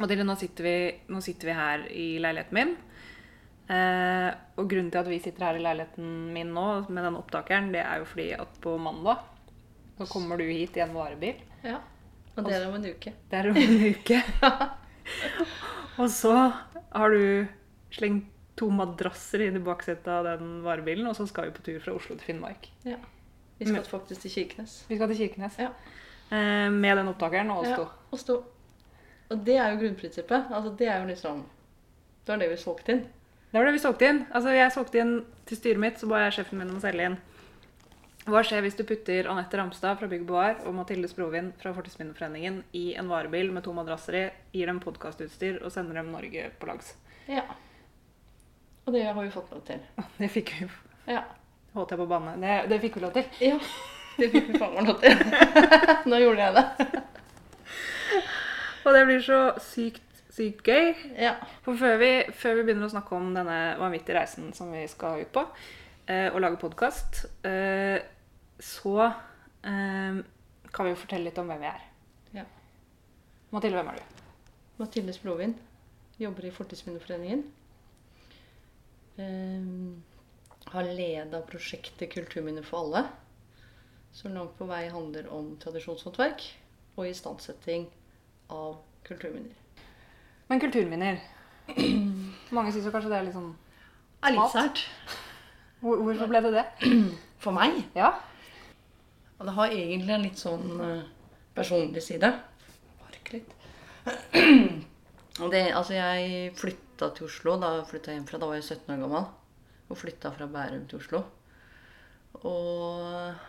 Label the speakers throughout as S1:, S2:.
S1: Mathilde, nå sitter vi, nå sitter vi her i leiligheten min. Eh, og grunnen til at vi sitter her i leiligheten min nå med den opptakeren, det er jo fordi at på mandag så kommer du hit i en varebil.
S2: Ja. Og det er om en uke.
S1: Det er om en uke. og så har du slengt to madrasser inn i baksetet av den varebilen, og så skal vi på tur fra Oslo til Finnmark.
S2: Ja. Vi skal faktisk til Kirkenes.
S1: Vi skal til Kirkenes.
S2: Ja.
S1: Eh, med den opptakeren og oss to.
S2: Ja, og stå. Og det er jo grunnprinsippet. Altså, det er jo liksom Det var det vi solgte inn.
S1: Det var det vi solgte inn. Altså, jeg solgte inn til styret mitt, så ba jeg sjefen min om å selge inn. Hva skjer hvis du putter Anette Ramstad fra Bygg og Boar og Mathilde Sprovin fra Fortidsminneforeningen i en varebil med to madrasser i, gir dem podkastutstyr og sender dem Norge på lags?
S2: Ja. Og det har vi fått lov til.
S1: Det fikk vi
S2: Ja.
S1: holdt jeg på bane. Det, det fikk vi lov til.
S2: ja. Det fikk vi faen meg lov til. Nå gjorde jeg det.
S1: Og det blir så sykt, sykt gøy.
S2: Ja.
S1: For før vi, før vi begynner å snakke om denne vanvittige reisen som vi skal ut på, eh, og lage podkast, eh, så eh, kan vi jo fortelle litt om hvem vi er.
S2: Ja.
S1: Mathilde, hvem er du?
S2: Mathilde Splovin jobber i Fortidsminneforeningen. Ehm, har leda prosjektet Kulturminner for alle, som langt på vei handler om tradisjonshåndverk og istandsetting av kulturminner.
S1: Men kulturminner. Mange syns jo kanskje det er litt sånn
S2: Er litt
S1: Smalt.
S2: sært
S1: hvor, Hvorfor ble det det?
S2: for meg.
S1: Ja.
S2: Og det har egentlig en litt sånn eh, personlig side. Bark litt. Og det, altså jeg flytta til Oslo da jeg flytta hjemmefra. Da var jeg 17 år gammel. Og flytta fra Bærum til Oslo. Og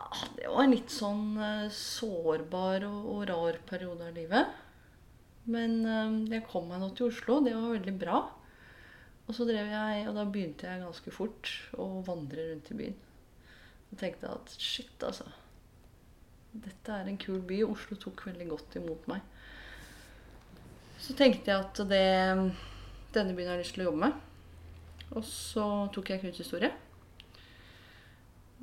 S2: ja, det var en litt sånn eh, sårbar og, og rar periode av livet. Men eh, jeg kom meg nå til Oslo. Det var veldig bra. Og så drev jeg, og da begynte jeg ganske fort å vandre rundt i byen. Og tenkte at shit, altså. Dette er en kul by. og Oslo tok veldig godt imot meg. Så tenkte jeg at det, denne byen har jeg lyst til å jobbe med. Og så tok jeg kunsthistorie.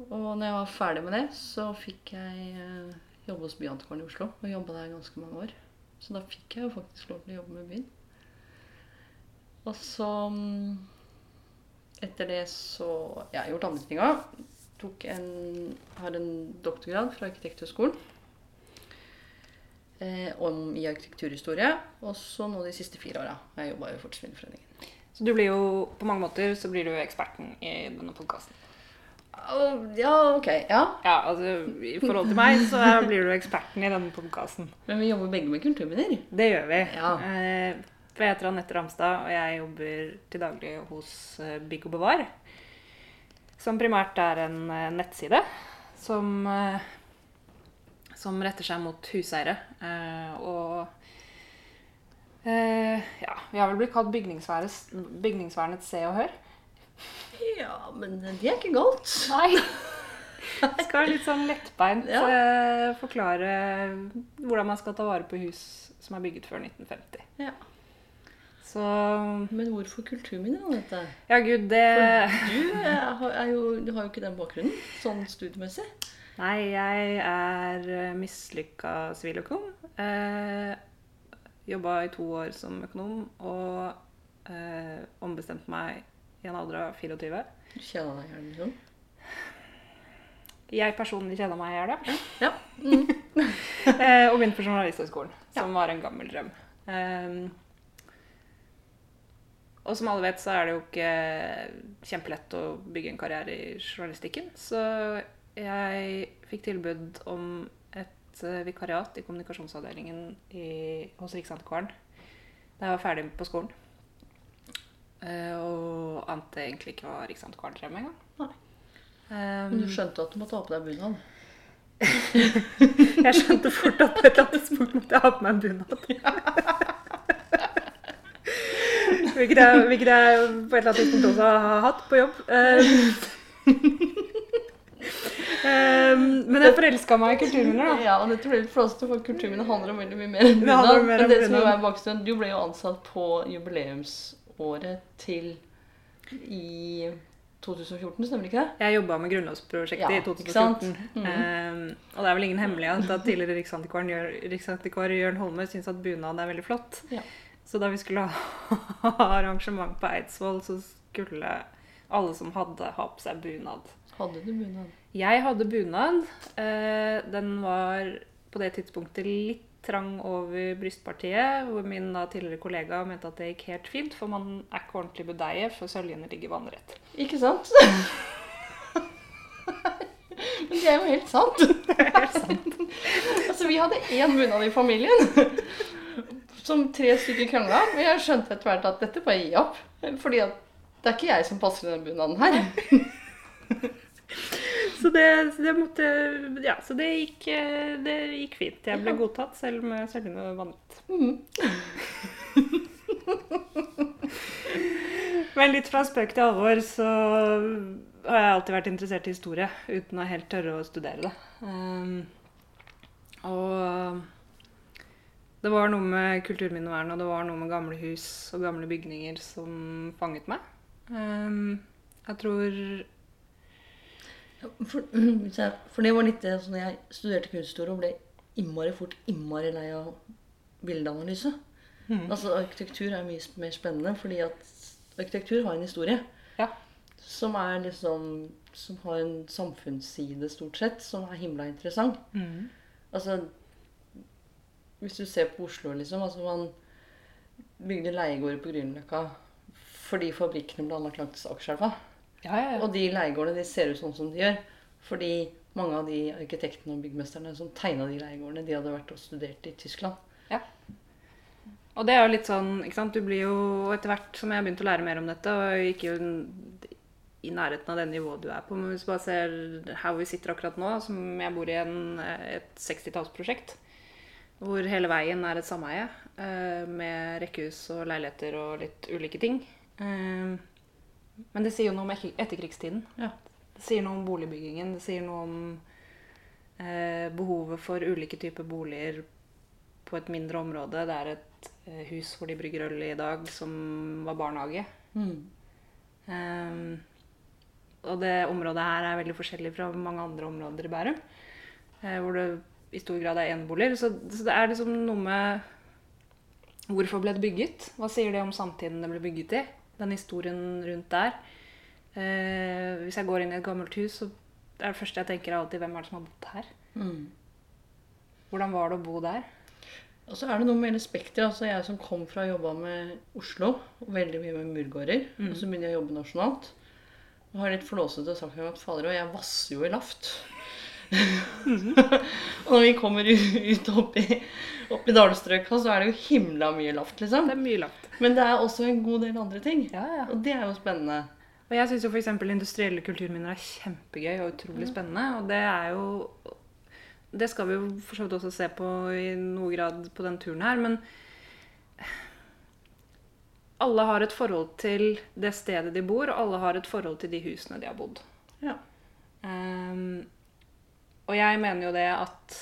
S2: Og når jeg var ferdig med det, så fikk jeg eh, jobbe hos Byantikvaren i Oslo. Og jobba der ganske mange år. Så da fikk jeg jo faktisk lov til å jobbe med byen. Og så mm, Etter det så Jeg har gjort andre ting òg tok en, har en doktorgrad fra Arkitekthøgskolen eh, om i arkitekturhistorie. Og så nå de siste fire åra har jeg jobba i Fortidsminneforeningen.
S1: Så du blir jo på mange måter så blir du jo eksperten i denne podkasten.
S2: Å, ja, ok. Ja.
S1: Ja, altså i forhold til meg så er- blir du eksperten i denne podkasten.
S2: Men vi jobber begge med kulturminner.
S1: Det gjør vi.
S2: Ja.
S1: Eh, for jeg heter Anette Ramstad, og jeg jobber til daglig hos eh, Bygg og Bevar. Som primært er en eh, nettside som, eh, som retter seg mot huseiere. Eh, og eh, ja, vi har vel blitt kalt bygningsvernets, bygningsvernets Se og Hør.
S2: Ja, men det er ikke galt.
S1: Nei. Jeg skal litt sånn lettbeint
S2: Ja.
S1: eh, forklare hvordan man skal ta vare på hus som er bygget før 1950.
S2: Ja.
S1: Så
S2: Men hvorfor kulturminner og dette?
S1: Ja, gud, det
S2: Du, eh, har- er jo, du har jo ikke den bakgrunnen, sånn studiemessig.
S1: Nei, jeg er eh, mislykka siviløkonom. Eh, Jobba i to år som økonom og eh, ombestemte meg i en alder av 24.
S2: Du kjenner deg gjerne liksom.
S1: Jeg personlig kjeda meg i hjel, ja.
S2: Ja.
S1: Eh, og begynte på Journalisthøgskolen, som var en gammel drøm. Ehm, og som alle vet, så er det jo ikke kjempelett å bygge en karriere i journalistikken. Så jeg fikk tilbud om et eh, vikariat i kommunikasjonsavdelingen i, hos Riksantikvaren da jeg var ferdig på skolen. Eh, og ante egentlig ikke hva Riksantikvaren drev med engang.
S2: Nei.
S1: Um,
S2: Men du skjønte at du måtte ha på deg bunad?
S1: Jeg skjønte fort at på et eller annet tidspunkt måtte jeg ha på meg en bunad. Hvilket jeg, hvilket jeg på et eller annet tidspunkt også har hatt på jobb. Ehm, Eh, eh, men jeg forelska meg i kulturminner, da.
S2: Ja, og det tror jeg for oss til folk kulturminne handler om veldig mye mer enn
S1: Det handler
S2: bunad.
S1: om mer enn
S2: Men det som jo
S1: bunad.
S2: er bakstuen, du ble jo ansatt på jubileumsåret til i 2014, stemmer ikke det?
S1: Jeg jobba med grunnlovsprosjektet
S2: Ja,
S1: i
S2: ikke sant?
S1: 2014.
S2: Mhm.
S1: Eh, og det er vel ingen hemmelighet at tidligere riksantikvar Jørn, riksantikvar Jørn Holme syns at bunad er veldig flott.
S2: Ja.
S1: Så da vi skulle ha arrangement på Eidsvoll, så skulle alle som hadde, ha på seg bunad.
S2: Hadde du bunad?
S1: Jeg hadde bunad. Eh, Den var på det tidspunktet litt trang over brystpartiet, hvor min da tidligere kollega mente at det gikk helt fint, for man er ikke ordentlig budeie, for søljene ligger vannrett.
S2: Ikke sant? Men det er jo helt sant. altså, vi hadde én bunad i familien som tre stykker krangla om. Og jeg skjønte etter hvert at dette bare gir opp. Fordi at det er ikke jeg som passer i den bunaden her.
S1: Så det, så det måtte Ja, så det gikk, eh, det gikk fint. Jeg ble godtatt, selv om søljene vant.
S2: Mhm.
S1: Men litt fra spøk til alvor, så har jeg alltid vært interessert i historie, uten å helt tørre å studere det. Ehm, og det var noe med kulturminnevern, og det var noe med gamle hus og gamle bygninger som fanget meg. Ehm, jeg tror
S2: For, hvis jeg- for det var litt det sånn jeg studerte kunsthistorie og ble innmari fort innmari lei av bildeanalyse.
S1: Mhm.
S2: Altså Arkitektur er mye sp- mer spennende, fordi at arkitektur har en historie.
S1: Ja.
S2: Som er liksom Som har en samfunnsside, stort sett, som er himla interessant.
S1: Mm.
S2: Altså Hvis du ser på Oslo, liksom altså Man bygde leiegårder på Grünerløkka fordi fabrikkene ble anlagt langs Akerselva.
S1: Ja, ja, ja.
S2: Og de leiegårdene de ser ut sånn som de gjør. Fordi mange av de arkitektene og byggmesterne som tegna de leiegårdene, de hadde vært og studert i Tyskland.
S1: Og det er jo litt sånn, ikke sant, du blir jo etter hvert som jeg begynte å lære mer om dette, og jeg gikk jo n- i nærheten av det nivået du er på, men hvis du bare ser her hvor vi sitter akkurat nå, som jeg bor i en, et 60-tallsprosjekt, hvor hele veien er et sameie, eh, med rekkehus og leiligheter og litt ulike ting. Eh, Men det sier jo noe om etter- etterkrigstiden.
S2: Ja.
S1: Det sier noe om boligbyggingen, det sier noe om eh, behovet for ulike typer boliger på et mindre område. Det er et eh, hus hvor de brygger øl i dag, som var barnehage.
S2: Mm.
S1: Ehm, og det området her er veldig forskjellig fra mange andre områder i Bærum, eh, hvor det i stor grad er eneboliger. Så, så det er liksom noe med Hvorfor ble det bygget? Hva sier det om samtiden det ble bygget i? Den historien rundt der. Eh, hvis jeg går inn i et gammelt hus, så er det første jeg tenker er alltid hvem er det som har bodd her?
S2: Mm.
S1: Hvordan var det å bo der?
S2: Og så er det noe med hele spekteret. Altså jeg som kom fra å jobbe med Oslo, og veldig mye med murgårder, og så begynner jeg å jobbe nasjonalt. Og har litt flåsete sagt om at fader og jeg vasser jo i laft. og når vi kommer u- ut opp i, opp i dalstrøka, så er det jo himla mye laft, liksom.
S1: Det er mye langt.
S2: Men det er også en god del andre ting.
S1: Ja, ja.
S2: Og det er jo spennende.
S1: Og jeg syns jo f.eks. industrielle kulturminner er kjempegøy og utrolig spennende. Og det er jo Det skal vi jo for så vidt også se på i noe grad på den turen her, men alle har et forhold til det stedet de bor, og alle har et forhold til de husene de har bodd.
S2: Ja.
S1: Ehm, og jeg mener jo det at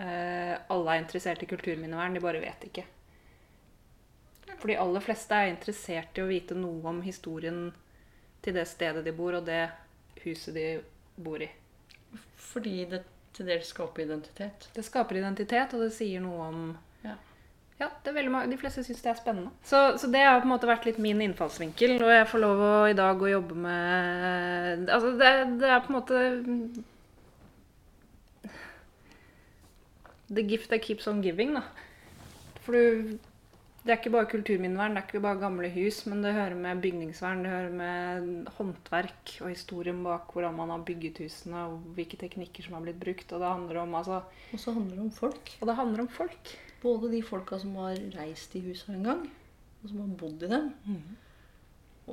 S1: eh, alle er interessert i kulturminnevern, de bare vet ikke. For de aller fleste er interessert i å vite noe om historien til det stedet de bor, og det huset de bor i.
S2: Fordi det til dels skaper identitet.
S1: Det skaper identitet, og det sier noe om
S2: Ja.
S1: Ja, det er veldig mange, De fleste syns det er spennende. Så, så det har på en måte vært litt min innfallsvinkel. Og jeg får lov å, i dag å jobbe med Altså, det, det er på en måte The gift that keeps on giving, da. For du Det er ikke bare kulturminnevern, det er ikke bare gamle hus, men det hører med bygningsvern, det hører med håndverk og historien bak hvordan man har bygget husene, og hvilke teknikker som har blitt brukt. Og det handler om altså
S2: Og så handler det om folk.
S1: Og det handler om folk.
S2: Både de folka som har reist i husa en gang, og som har bodd i dem,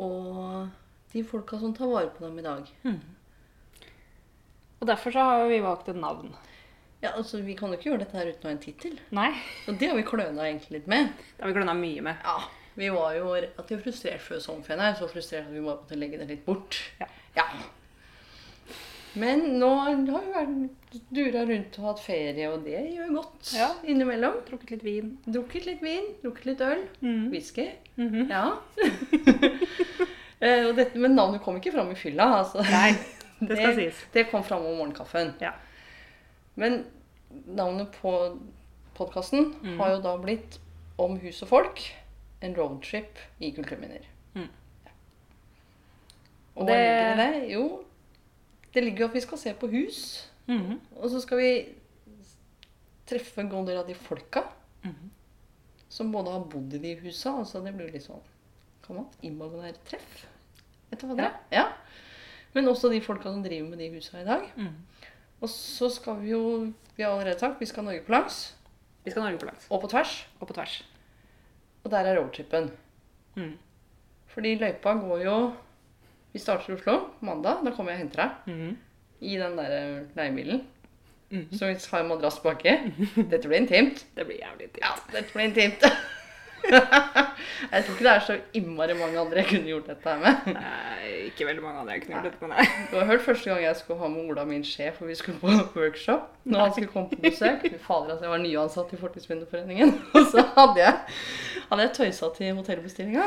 S2: og de folka som tar vare på dem i dag.
S1: Og derfor så har vi valgt et navn.
S2: Ja, altså, Vi kan jo ikke gjøre dette her uten å ha en tittel.
S1: Nei.
S2: Og det har vi kløna egentlig litt med.
S1: Det har vi glønna mye med.
S2: Ja, Vi var jo relativt frustrert før sommerferien. her, Så frustrert at vi bare måtte legge det litt bort.
S1: Ja.
S2: Men nå har vi vært dura rundt og hatt ferie, og det gjør godt
S1: Ja.
S2: innimellom.
S1: Drukket litt vin. Mm.
S2: Drukket litt vin, drukket litt øl. Whisky.
S1: Mhm.
S2: Ja. Eh, og dette, men navnet kom ikke fram i fylla. Altså.
S1: Nei, det skal sies.
S2: Det kom fram om morgenkaffen.
S1: Ja.
S2: Men navnet på podkasten
S1: Mm.
S2: har jo da blitt Om hus og folk. En roadtrip i kulturminner.
S1: Mm.
S2: Ja. Og
S1: Det-
S2: hva ligger i det? Jo, det ligger jo at vi skal se på hus.
S1: Mhm.
S2: Og så skal vi treffe en god del av de folka
S1: Mhm.
S2: som både har bodd i de husa. Altså det blir jo litt sånn kan man imaginære treff. Vet du hva det er? Ja. Men også de folka som driver med de husa i dag.
S1: Mhm.
S2: Og så skal vi jo Vi har allerede sagt vi skal Norge på langs
S1: Vi skal Norge på langs.
S2: og på tvers.
S1: Og på tvers.
S2: Og der er roadtripen.
S1: Mhm.
S2: Fordi løypa går jo Vi starter i Oslo på mandag. Da kommer jeg og henter deg.
S1: Mhm.
S2: I den der leiebilen.
S1: Mhm.
S2: Så vi har en madrass baki. Dette blir intimt.
S1: Det blir jævlig digg.
S2: Ja, dette blir intimt. jeg tror ikke det er så innmari mange andre jeg kunne gjort dette her med.
S1: Nei, ikke veldig mange andre jeg kunne gjort dette med, nei.
S2: Du har hørt første gang jeg skulle ha med Ola, min sjef, og vi skulle på workshop. Når han skulle komme på besøk. Fy fader, altså, jeg var nyansatt i Fortidsminneforeningen. Og så hadde jeg, hadde jeg tøysa til hotellbestillinga.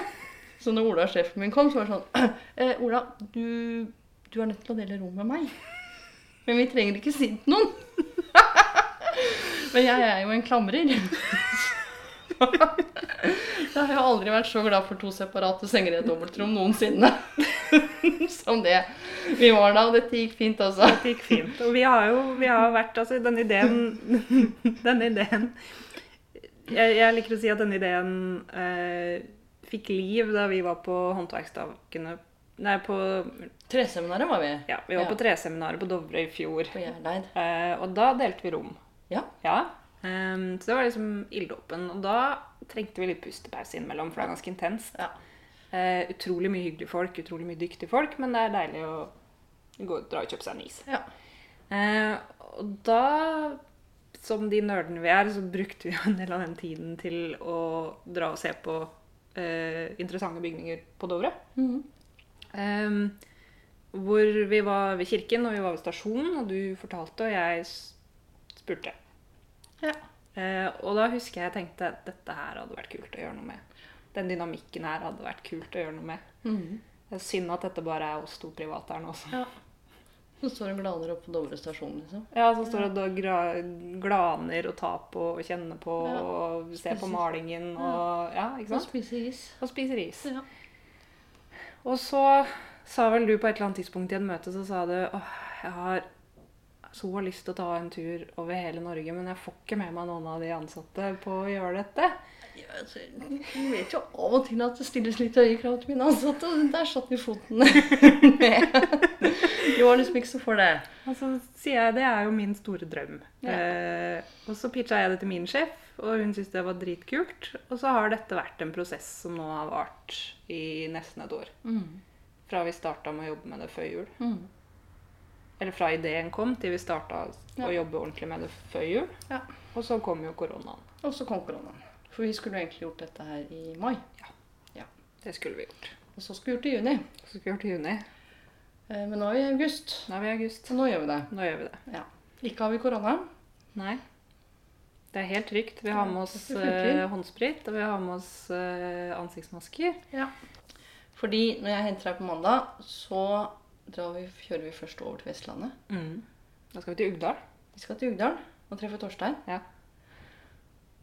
S2: Så når Ola, sjefen min, kom, så var det sånn eh, Ola, du, du er nødt til å dele rom med meg. Men vi trenger ikke si det til noen. Men jeg er jo en klamrer. Jeg har jo aldri vært så glad for to separate senger i et dobbeltrom noensinne. Som det vi var da. Og dette gikk fint, altså.
S1: Det gikk fint. Og vi har jo vi har vært Altså, denne ideen Denne ideen jeg, jeg liker å si at denne ideen eh, fikk liv da vi var på håndverksdagene Nei, på
S2: Treseminaret var vi.
S1: Ja, vi var
S2: Ja.
S1: på treseminaret på Dovre i fjor.
S2: På Hjerleid.
S1: Eh, og da delte vi rom.
S2: Ja.
S1: Ja. Ehm, så det var liksom ilddåpen. Og da trengte vi litt pustepause innimellom, for det er ganske intenst.
S2: Ja.
S1: Eh, utrolig mye hyggelige folk, utrolig mye dyktige folk, men det er deilig å gå ut dra og kjøpe seg en is.
S2: ja.
S1: Eh, og da, som de nerdene vi er, så brukte vi jo en del av den tiden til å dra og se på eh, interessante bygninger på Dovre.
S2: Mhm.
S1: Ehm, hvor vi var ved kirken, og vi var ved stasjonen, og du fortalte, og jeg s- spurte.
S2: ja.
S1: Eh, og da husker jeg jeg tenkte at dette her hadde vært kult å gjøre noe med. Den dynamikken her hadde vært kult å gjøre noe med.
S2: Mhm.
S1: Det er synd at dette bare er oss to private her nå. Også.
S2: ja. Så står det glaner opp på Dovre stasjon, liksom.
S1: Ja, så står det og gra glaner og ta på og kjenne på
S2: Ja.
S1: og se på
S2: Spiser.
S1: malingen og Ja, ikke
S2: Og
S1: sant?
S2: spiser is.
S1: Og spiser is.
S2: Ja.
S1: Og så sa vel du på et eller annet tidspunkt i et møte, så sa du åh, jeg har så lyst til å ta en tur over hele Norge, men jeg får ikke med meg noen av de ansatte på å gjøre dette.
S2: Ja, altså, Jeg vet jo av og til at det stilles litt høye krav til mine ansatte, og der satt vi foten ned. Vi var liksom ikke så for det.
S1: Og så sier jeg det er jo min store drøm.
S2: Ja.
S1: Eh, og så pitcha jeg det til min sjef, og hun syntes det var dritkult. Og så har dette vært en prosess som nå har vart i nesten et år.
S2: Mm,
S1: Fra vi starta med å jobbe med det før jul.
S2: Mhm.
S1: Eller fra ideen kom til vi starta
S2: Ja.
S1: å jobbe ordentlig med det før jul.
S2: Ja.
S1: Og så kom jo koronaen.
S2: Og så kom koronaen. For vi skulle jo egentlig gjort dette her i mai.
S1: Det skulle vi gjort.
S2: Og så skulle vi gjort det i juni.
S1: Så skulle vi gjort i juni.
S2: Eh, Men nå er vi i august.
S1: Nå er vi i august.
S2: Så nå gjør vi det.
S1: Nå gjør vi det.
S2: Ja. Ikke har vi korona.
S1: Nei. Det er helt trygt. Vi har med oss
S2: Det funker.
S1: eh, håndsprit, og vi har med oss eh, ansiktsmasker.
S2: Fordi når jeg henter deg på mandag, så drar vi, kjører vi først over til Vestlandet.
S1: Da skal vi til Ugdal.
S2: Vi skal til Ugdal og treffe Torstein.
S1: Ja.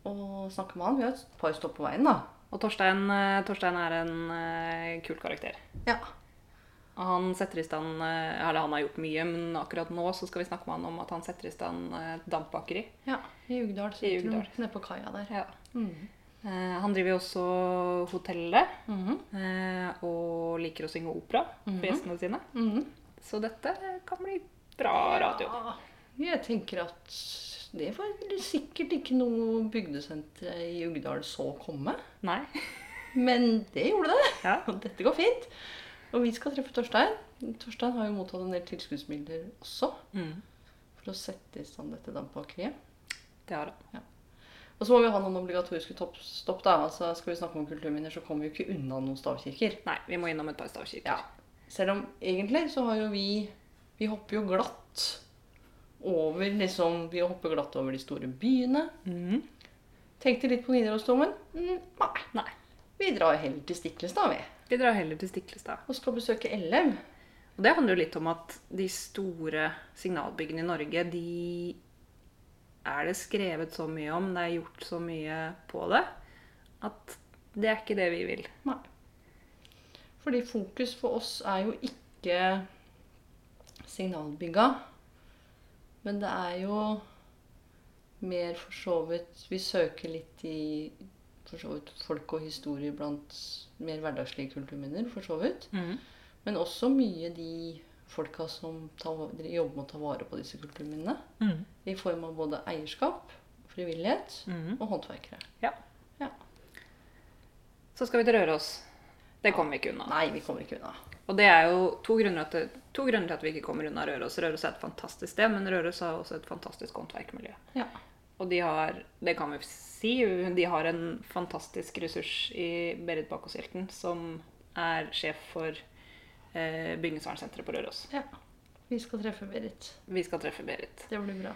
S2: Og snakke med han. Vi har et par stopp på veien, da.
S1: Og Torstein, eh, Torstein er en eh, kul karakter.
S2: Ja.
S1: Og Han setter i stand, eh, eller han har gjort mye, men akkurat nå så skal vi snakke med han om at han setter i stand eh, et dampbakeri.
S2: ja I Ugdal
S1: I
S2: sentrum.
S1: Ugdal.
S2: Nede på kaia der.
S1: Ja.
S2: Mhm.
S1: Eh, Han driver jo også hotellet,
S2: Mhm.
S1: eh, og liker å synge opera for gjestene sine.
S2: Mhm.
S1: Så dette kan bli bra radio.
S2: Ja, Ah, Jeg tenker at det var sikkert ikke noe bygdesenter i Ugdal så komme.
S1: Nei?
S2: Men det gjorde det.
S1: Ja.
S2: Og dette går fint. Og vi skal treffe Torstein. Torstein har jo mottatt en del tilskuddsmidler også
S1: Mm.
S2: for å sette i stand dette dampbakeriet.
S1: Det har han.
S2: Og så må vi ha noen obligatoriske topp- stopp. da. Altså, Skal vi snakke om kulturminner, så kommer vi jo ikke unna noen stavkirker.
S1: Nei, vi må innom et par stavkirker.
S2: Ja. Selv om egentlig så har jo vi Vi hopper jo glatt over liksom Vi hopper glatt over de store byene.
S1: Mhm.
S2: Tenkte litt på Nidarosdomen. Mm, nei.
S1: Nei.
S2: Vi drar heller til Stiklestad, vi.
S1: Vi drar heller til Stiklestad.
S2: Og skal besøke LM.
S1: Og det handler jo litt om at de store signalbyggene i Norge, de er det skrevet så mye om, det er gjort så mye på det, at det er ikke det vi vil.
S2: Nei. Fordi fokus for oss er jo ikke signalbygga, men det er jo mer for så vidt Vi søker litt i for så vidt folk og historie blant mer hverdagslige kulturminner, for så vidt. Men også mye de folka som tar, dere jobber med å ta vare på disse kulturminnene.
S1: Mm.
S2: I form av både eierskap, frivillighet
S1: Mm.
S2: og håndverkere.
S1: Så skal vi til Røros. Det kommer vi ikke unna.
S2: Nei, vi kommer ikke unna.
S1: Og det er jo to grunner, til, to grunner til at vi ikke kommer unna Røros. Røros er et fantastisk sted, men Røros har også et fantastisk håndverkmiljø.
S2: Ja.
S1: Og de har, det kan vi si, de har en fantastisk ressurs i Berit Bakkåshjelten, som er sjef for eh, bygningsvernsenteret på Røros.
S2: ja. Vi skal treffe Berit.
S1: Vi skal treffe Berit.
S2: Det blir bra.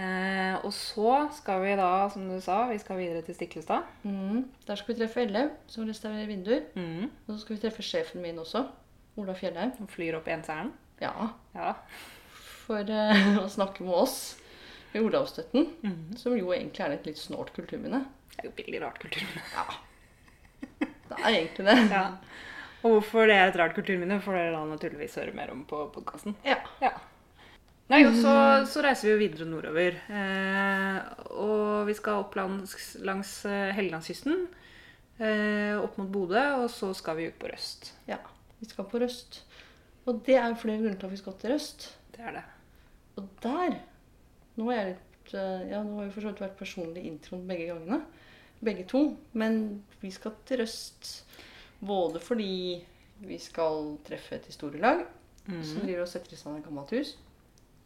S1: Eh, og så skal vi da, som du sa, vi skal videre til Stiklestad.
S2: Mm. Der skal vi treffe Ellev, som restaurerer vinduer. Og så skal vi treffe sjefen min også. Ola Fjellheim.
S1: Hun flyr opp enseren.
S2: Ja,
S1: Ja.
S2: for eh, å snakke med oss i Olavsstøtten. Som jo egentlig er et litt snålt kulturminne.
S1: Det er jo veldig rart kulturminne.
S2: Ja. Det er egentlig det.
S1: Ja. Og hvorfor det er et rart kulturminne, får dere da naturligvis høre mer om på podkasten.
S2: Ja.
S1: Ja. Nei, og så, så reiser vi jo videre nordover. Eh, og vi skal opp langs, langs eh, Helgelandskysten, eh, opp mot Bodø, og så skal vi ut på Røst.
S2: ja. Vi skal på Røst. Og det er flere grunner til at vi skal til Røst.
S1: Det er det.
S2: Og der Nå har jeg litt eh, Ja, nå har vi for så vidt vært personlig i introen begge gangene. Begge to. Men vi skal til Røst både fordi vi skal treffe et historielag
S1: Mhm.
S2: som driver og setter i stand et gammelt hus.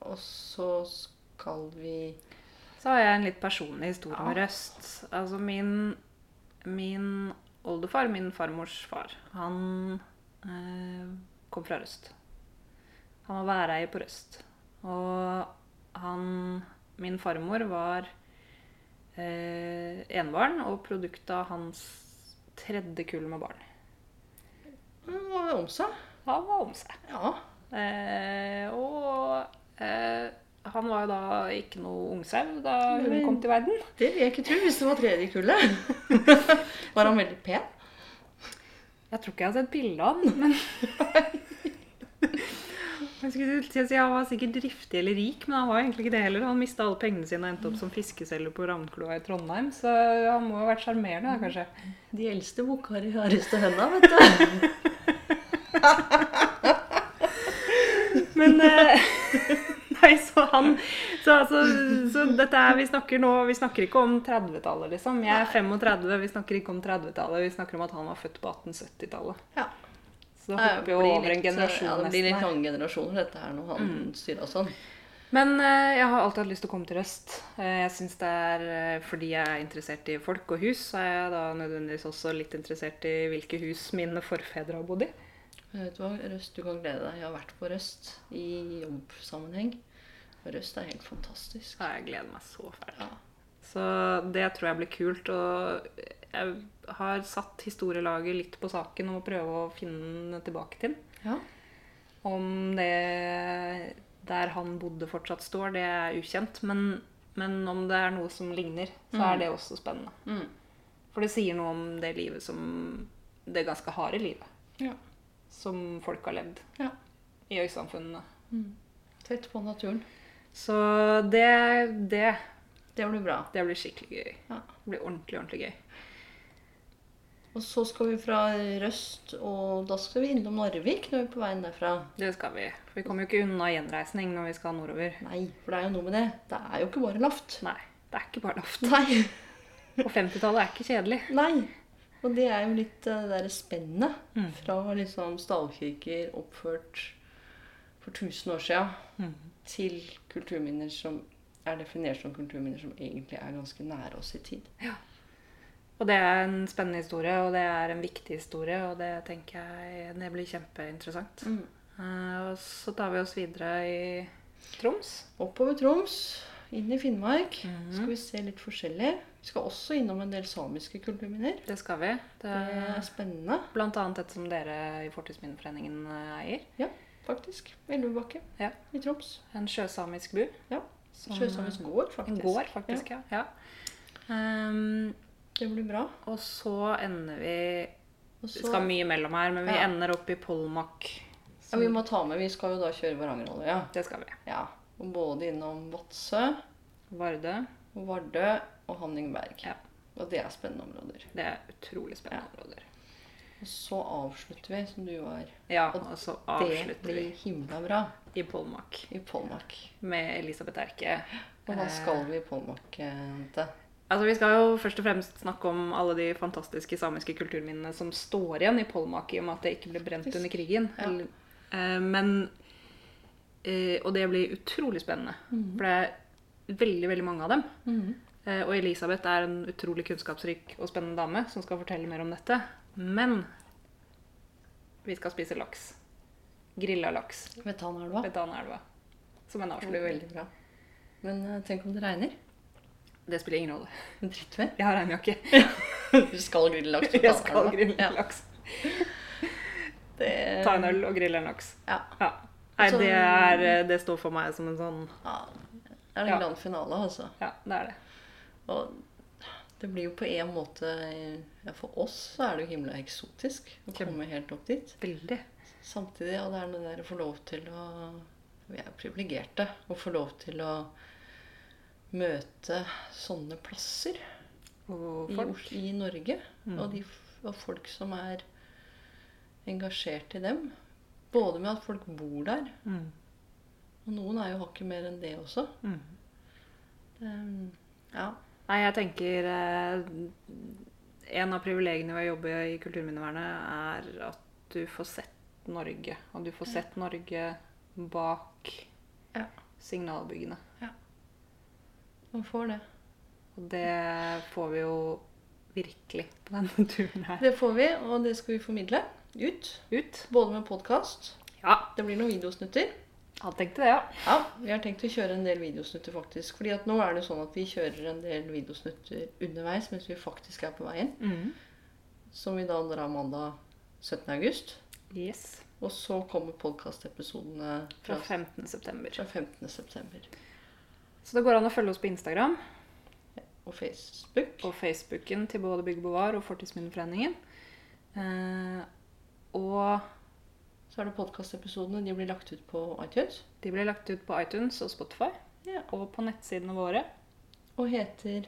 S2: Og så skal vi
S1: Så har jeg en litt personlig historie med
S2: Ja.
S1: Røst. Altså min, min oldefar, min farmors far, han eh, kom fra Røst. Han var væreier på Røst. Og han Min farmor var eh, enebarn og produkt av hans tredje kull med barn.
S2: Hva er om seg?
S1: Han var om seg.
S2: Ja.
S1: Eh, og eh, han var jo da ikke noe ungsau da hun
S2: Nei.
S1: kom til verden.
S2: Det vil jeg ikke tro hvis det var tredje kullet. Var han veldig pen?
S1: Jeg tror ikke jeg har sett bilde av han, men Jeg skulle til å si Han var sikkert driftig eller rik, men han var egentlig ikke det heller. Han mista alle pengene sine og endte opp som fiskeselger på Ravnkloa i Trondheim, så han må jo ha vært sjarmerende, da, kanskje.
S2: De eldste bukkar i hardeste høna, vet du.
S1: Men eh, Nei, så han Så, altså, så dette er Vi snakker nå Vi snakker ikke om 30-tallet, liksom. Jeg er 35, vi snakker ikke om 30-tallet. Vi snakker om at han var født på 1870-tallet.
S2: Ja.
S1: Så da hopper vi jo over en generasjon
S2: ja, det blir
S1: nesten
S2: litt
S1: her. Mm.
S2: lange generasjoner, dette her, når han styrer og sånn.
S1: Men eh, jeg har alltid hatt lyst til å komme til Røst. Eh, jeg synes det er, eh, Fordi jeg er interessert i folk og hus, så er jeg da nødvendigvis også litt interessert i hvilke hus mine forfedre har bodd i.
S2: Men Vet du hva, Røst, du kan glede deg. Jeg har vært på Røst i jobbsammenheng. Og Røst er helt fantastisk.
S1: Så jeg gleder meg så fælt.
S2: Ja.
S1: Så det tror jeg blir kult. Og jeg har satt historielaget litt på saken om å prøve å finne den tilbake til. den.
S2: Ja.
S1: Om det der han bodde fortsatt står, det er ukjent. Men, men om det er noe som ligner, så er det også spennende.
S2: Mm.
S1: For det sier noe om det livet som Det ganske harde livet
S2: ja.
S1: som folk har levd
S2: ja. Mm.
S1: i øysamfunnene.
S2: Tett på naturen.
S1: Så det, det
S2: Det blir bra.
S1: Det blir skikkelig gøy.
S2: Ja.
S1: Det blir ordentlig, ordentlig gøy.
S2: Og så skal vi fra Røst, og da skal vi innom Narvik når vi er på veien derfra.
S1: Det skal vi. For vi kommer jo ikke unna gjenreisning når vi skal nordover.
S2: Nei, for det er jo noe med det. Det er jo ikke bare laft.
S1: Nei, det er ikke bare laft.
S2: Nei.
S1: Og 50-tallet er ikke kjedelig.
S2: Nei. Og det er jo litt eh, det derre spennet
S1: Mm.
S2: fra liksom stavkirker oppført for 1000 år sia
S1: Mm.
S2: til kulturminner som er definert som kulturminner som egentlig er ganske nære oss i tid.
S1: Og det er en spennende historie, og det er en viktig historie, og det tenker jeg det blir kjempeinteressant. Eh, og så tar vi oss videre i Troms.
S2: Oppover Troms inn i Finnmark.
S1: Mhm.
S2: Skal vi se litt forskjellig. Vi skal også innom en del samiske kulturminner.
S1: Det skal vi. Det,
S2: Det
S1: Eh.
S2: er spennende,
S1: blant annet et som dere i Fortidsminneforeningen eh, eier.
S2: faktisk. Elvebakke
S1: Ja.
S2: i Troms.
S1: En sjøsamisk bu.
S2: Ja.
S1: Som-
S2: Sjøsamisk gård,
S1: En
S2: faktisk.
S1: gård, faktisk. Ja. ja. Ehm,
S2: Det blir bra.
S1: og så ender vi
S2: Og
S1: Det
S2: så,
S1: skal mye mellom her, men vi
S2: Ja.
S1: ender opp i Polmak.
S2: ja, vi må ta med, vi skal jo da kjøre Varangerhalvøya.
S1: Det skal vi.
S2: Ja. Og både innom Vadsø,
S1: Vardø.
S2: Vardø og Hanningberg.
S1: Ja.
S2: Og det er spennende områder.
S1: Det er utrolig spennende områder.
S2: Og så avslutter vi, som du var.
S1: Ja,
S2: Og
S1: og så
S2: Det
S1: avslutter vi
S2: blir himla bra
S1: i Polmak
S2: i Polmak.
S1: med Elisabeth Erke.
S2: Og hva
S1: Eh,
S2: skal vi i Polmak eh, til?
S1: Altså, Vi skal jo først og fremst snakke om alle de fantastiske samiske kulturminnene som står igjen i Polmak, i og med at det ikke ble brent
S2: Faktisk.
S1: under krigen.
S2: Ja.
S1: Eller- eh, men eh, Og det blir utrolig spennende.
S2: Mm.
S1: For det er veldig, veldig mange av dem. Eh, Og Elisabeth er en utrolig kunnskapsrik og spennende dame som skal fortelle mer om dette. Men vi skal spise laks. Grilla laks
S2: Ved Tanaelva.
S1: ved Daneelva. Som en
S2: Det blir
S1: avslutning.
S2: veldig bra. Men eh, tenk om det regner.
S1: Det spiller ingen rolle.
S2: Drittvær.
S1: Jeg har regnjakke.
S2: Vi skal grille laks. på
S1: Jeg skal
S2: Tanaelva.
S1: grille
S2: Ja,
S1: laks.
S2: det-
S1: Ta en øl og grille en laks.
S2: Ja.
S1: Ja. Nei,
S2: Så-
S1: det, er, eh, det står for meg som en sånn
S2: ja. Det er en
S1: Ja.
S2: grand finale, altså.
S1: Ja, det er det.
S2: Og det blir jo på en måte ja, For oss så er det jo himla eksotisk å
S1: Kjempe.
S2: komme helt opp dit.
S1: Veldig.
S2: Samtidig, ja, det er noe der å få lov til å Vi er jo privilegerte å få lov til å møte sånne plasser
S1: Og
S2: i,
S1: folk.
S2: i Norge.
S1: Mm.
S2: Og, de, f- og folk som er engasjert i dem. Både med at folk bor der,
S1: Mm.
S2: og noen er jo hakket mer enn det også.
S1: Mm.
S2: Det, ja.
S1: Nei, jeg tenker eh, En av privilegiene ved å jobbe i Kulturminnevernet er at du får sett Norge. Og du får sett Norge bak
S2: Ja.
S1: signalbyggene.
S2: Man får det.
S1: Og det får vi jo virkelig på denne turen her.
S2: Det får vi, og det skal vi formidle ut.
S1: Ut.
S2: Både med podkast.
S1: Ja,
S2: Det blir noen videosnutter.
S1: han tenkte det, ja.
S2: Ja, Vi har tenkt å kjøre en del videosnutter, faktisk. Fordi at nå er det sånn at vi kjører en del videosnutter underveis mens vi faktisk er på veien.
S1: Mm.
S2: Som vi da drar mandag 17. august.
S1: Yes.
S2: Og så kommer podkastepisodene
S1: Fra
S2: fra,
S1: 15. september.
S2: fra 15. september.
S1: Så det går an å følge oss på Instagram
S2: Og Facebook.
S1: og Facebooken til både Bygg og Bevar og Fortidsminneforeningen. Eh, og
S2: Så er det podkastepisodene. De blir lagt ut på iTunes.
S1: De ble lagt ut på iTunes og Spotify,
S2: Ja.
S1: og på nettsidene våre.
S2: Og heter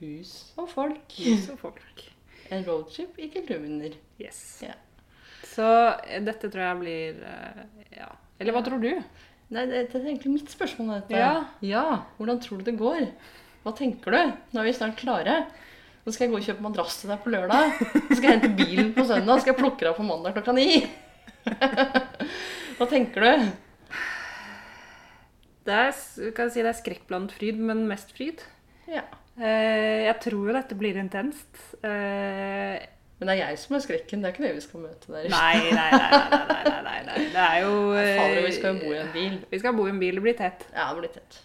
S2: Hus og folk.
S1: Hus og folk.
S2: En roadtrip i kulturminner.
S1: Yes.
S2: Ja.
S1: Så eh, dette tror jeg blir eh, Ja. Eller hva tror du?
S2: Nei, det, det er egentlig mitt spørsmål. Dette.
S1: Ja.
S2: Hvordan tror du det går? Hva tenker du? Nå er vi snart klare. Nå skal jeg gå og kjøpe madrass til deg på lørdag. Så skal jeg hente bilen på søndag. Så skal jeg plukke deg opp på mandag klokka ni. Hva tenker du?
S1: Det er, s- vi kan si det er skrekk blant fryd, men mest fryd.
S2: Ja.
S1: Eh, jeg tror jo dette blir intenst. Eh,
S2: Men det er jeg som er skrekken. Det er ikke det vi skal møte der.
S1: nei, nei, nei, nei, nei, nei, nei, nei. Det er jo eh,
S2: Fader, vi skal jo bo i en bil.
S1: Vi skal bo i en bil. Det blir tett.
S2: Ja, det blir tett.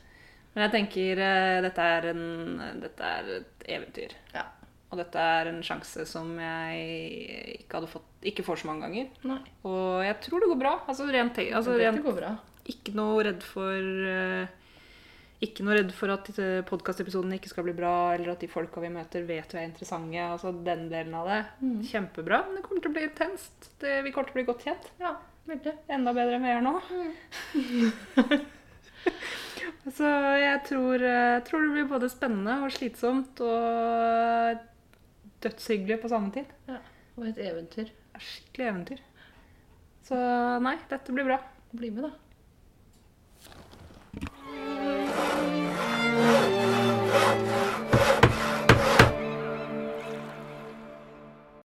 S1: Men jeg tenker eh, dette, er en, dette er et eventyr.
S2: Ja.
S1: Og dette er en sjanse som jeg ikke, hadde fått, ikke får så mange ganger.
S2: Nei.
S1: Og jeg tror det går bra. Altså, rent, te- altså,
S2: det
S1: rent,
S2: går bra.
S1: ikke noe redd for eh, Ikke noe redd for at eh, podkastepisoden ikke skal bli bra, eller at de folka vi møter, vet vi er interessante. Altså den delen av det. Kjempebra. Men det kommer til å bli intenst. Det, vi kommer til å bli godt kjent.
S2: Ja, veldig.
S1: Enda bedre enn vi er nå. Mm. Så jeg tror, jeg tror det blir både spennende og slitsomt og dødshyggelig på samme tid.
S2: Ja. Og et eventyr.
S1: Det er skikkelig eventyr. Så nei, dette blir bra.
S2: Bli med, da.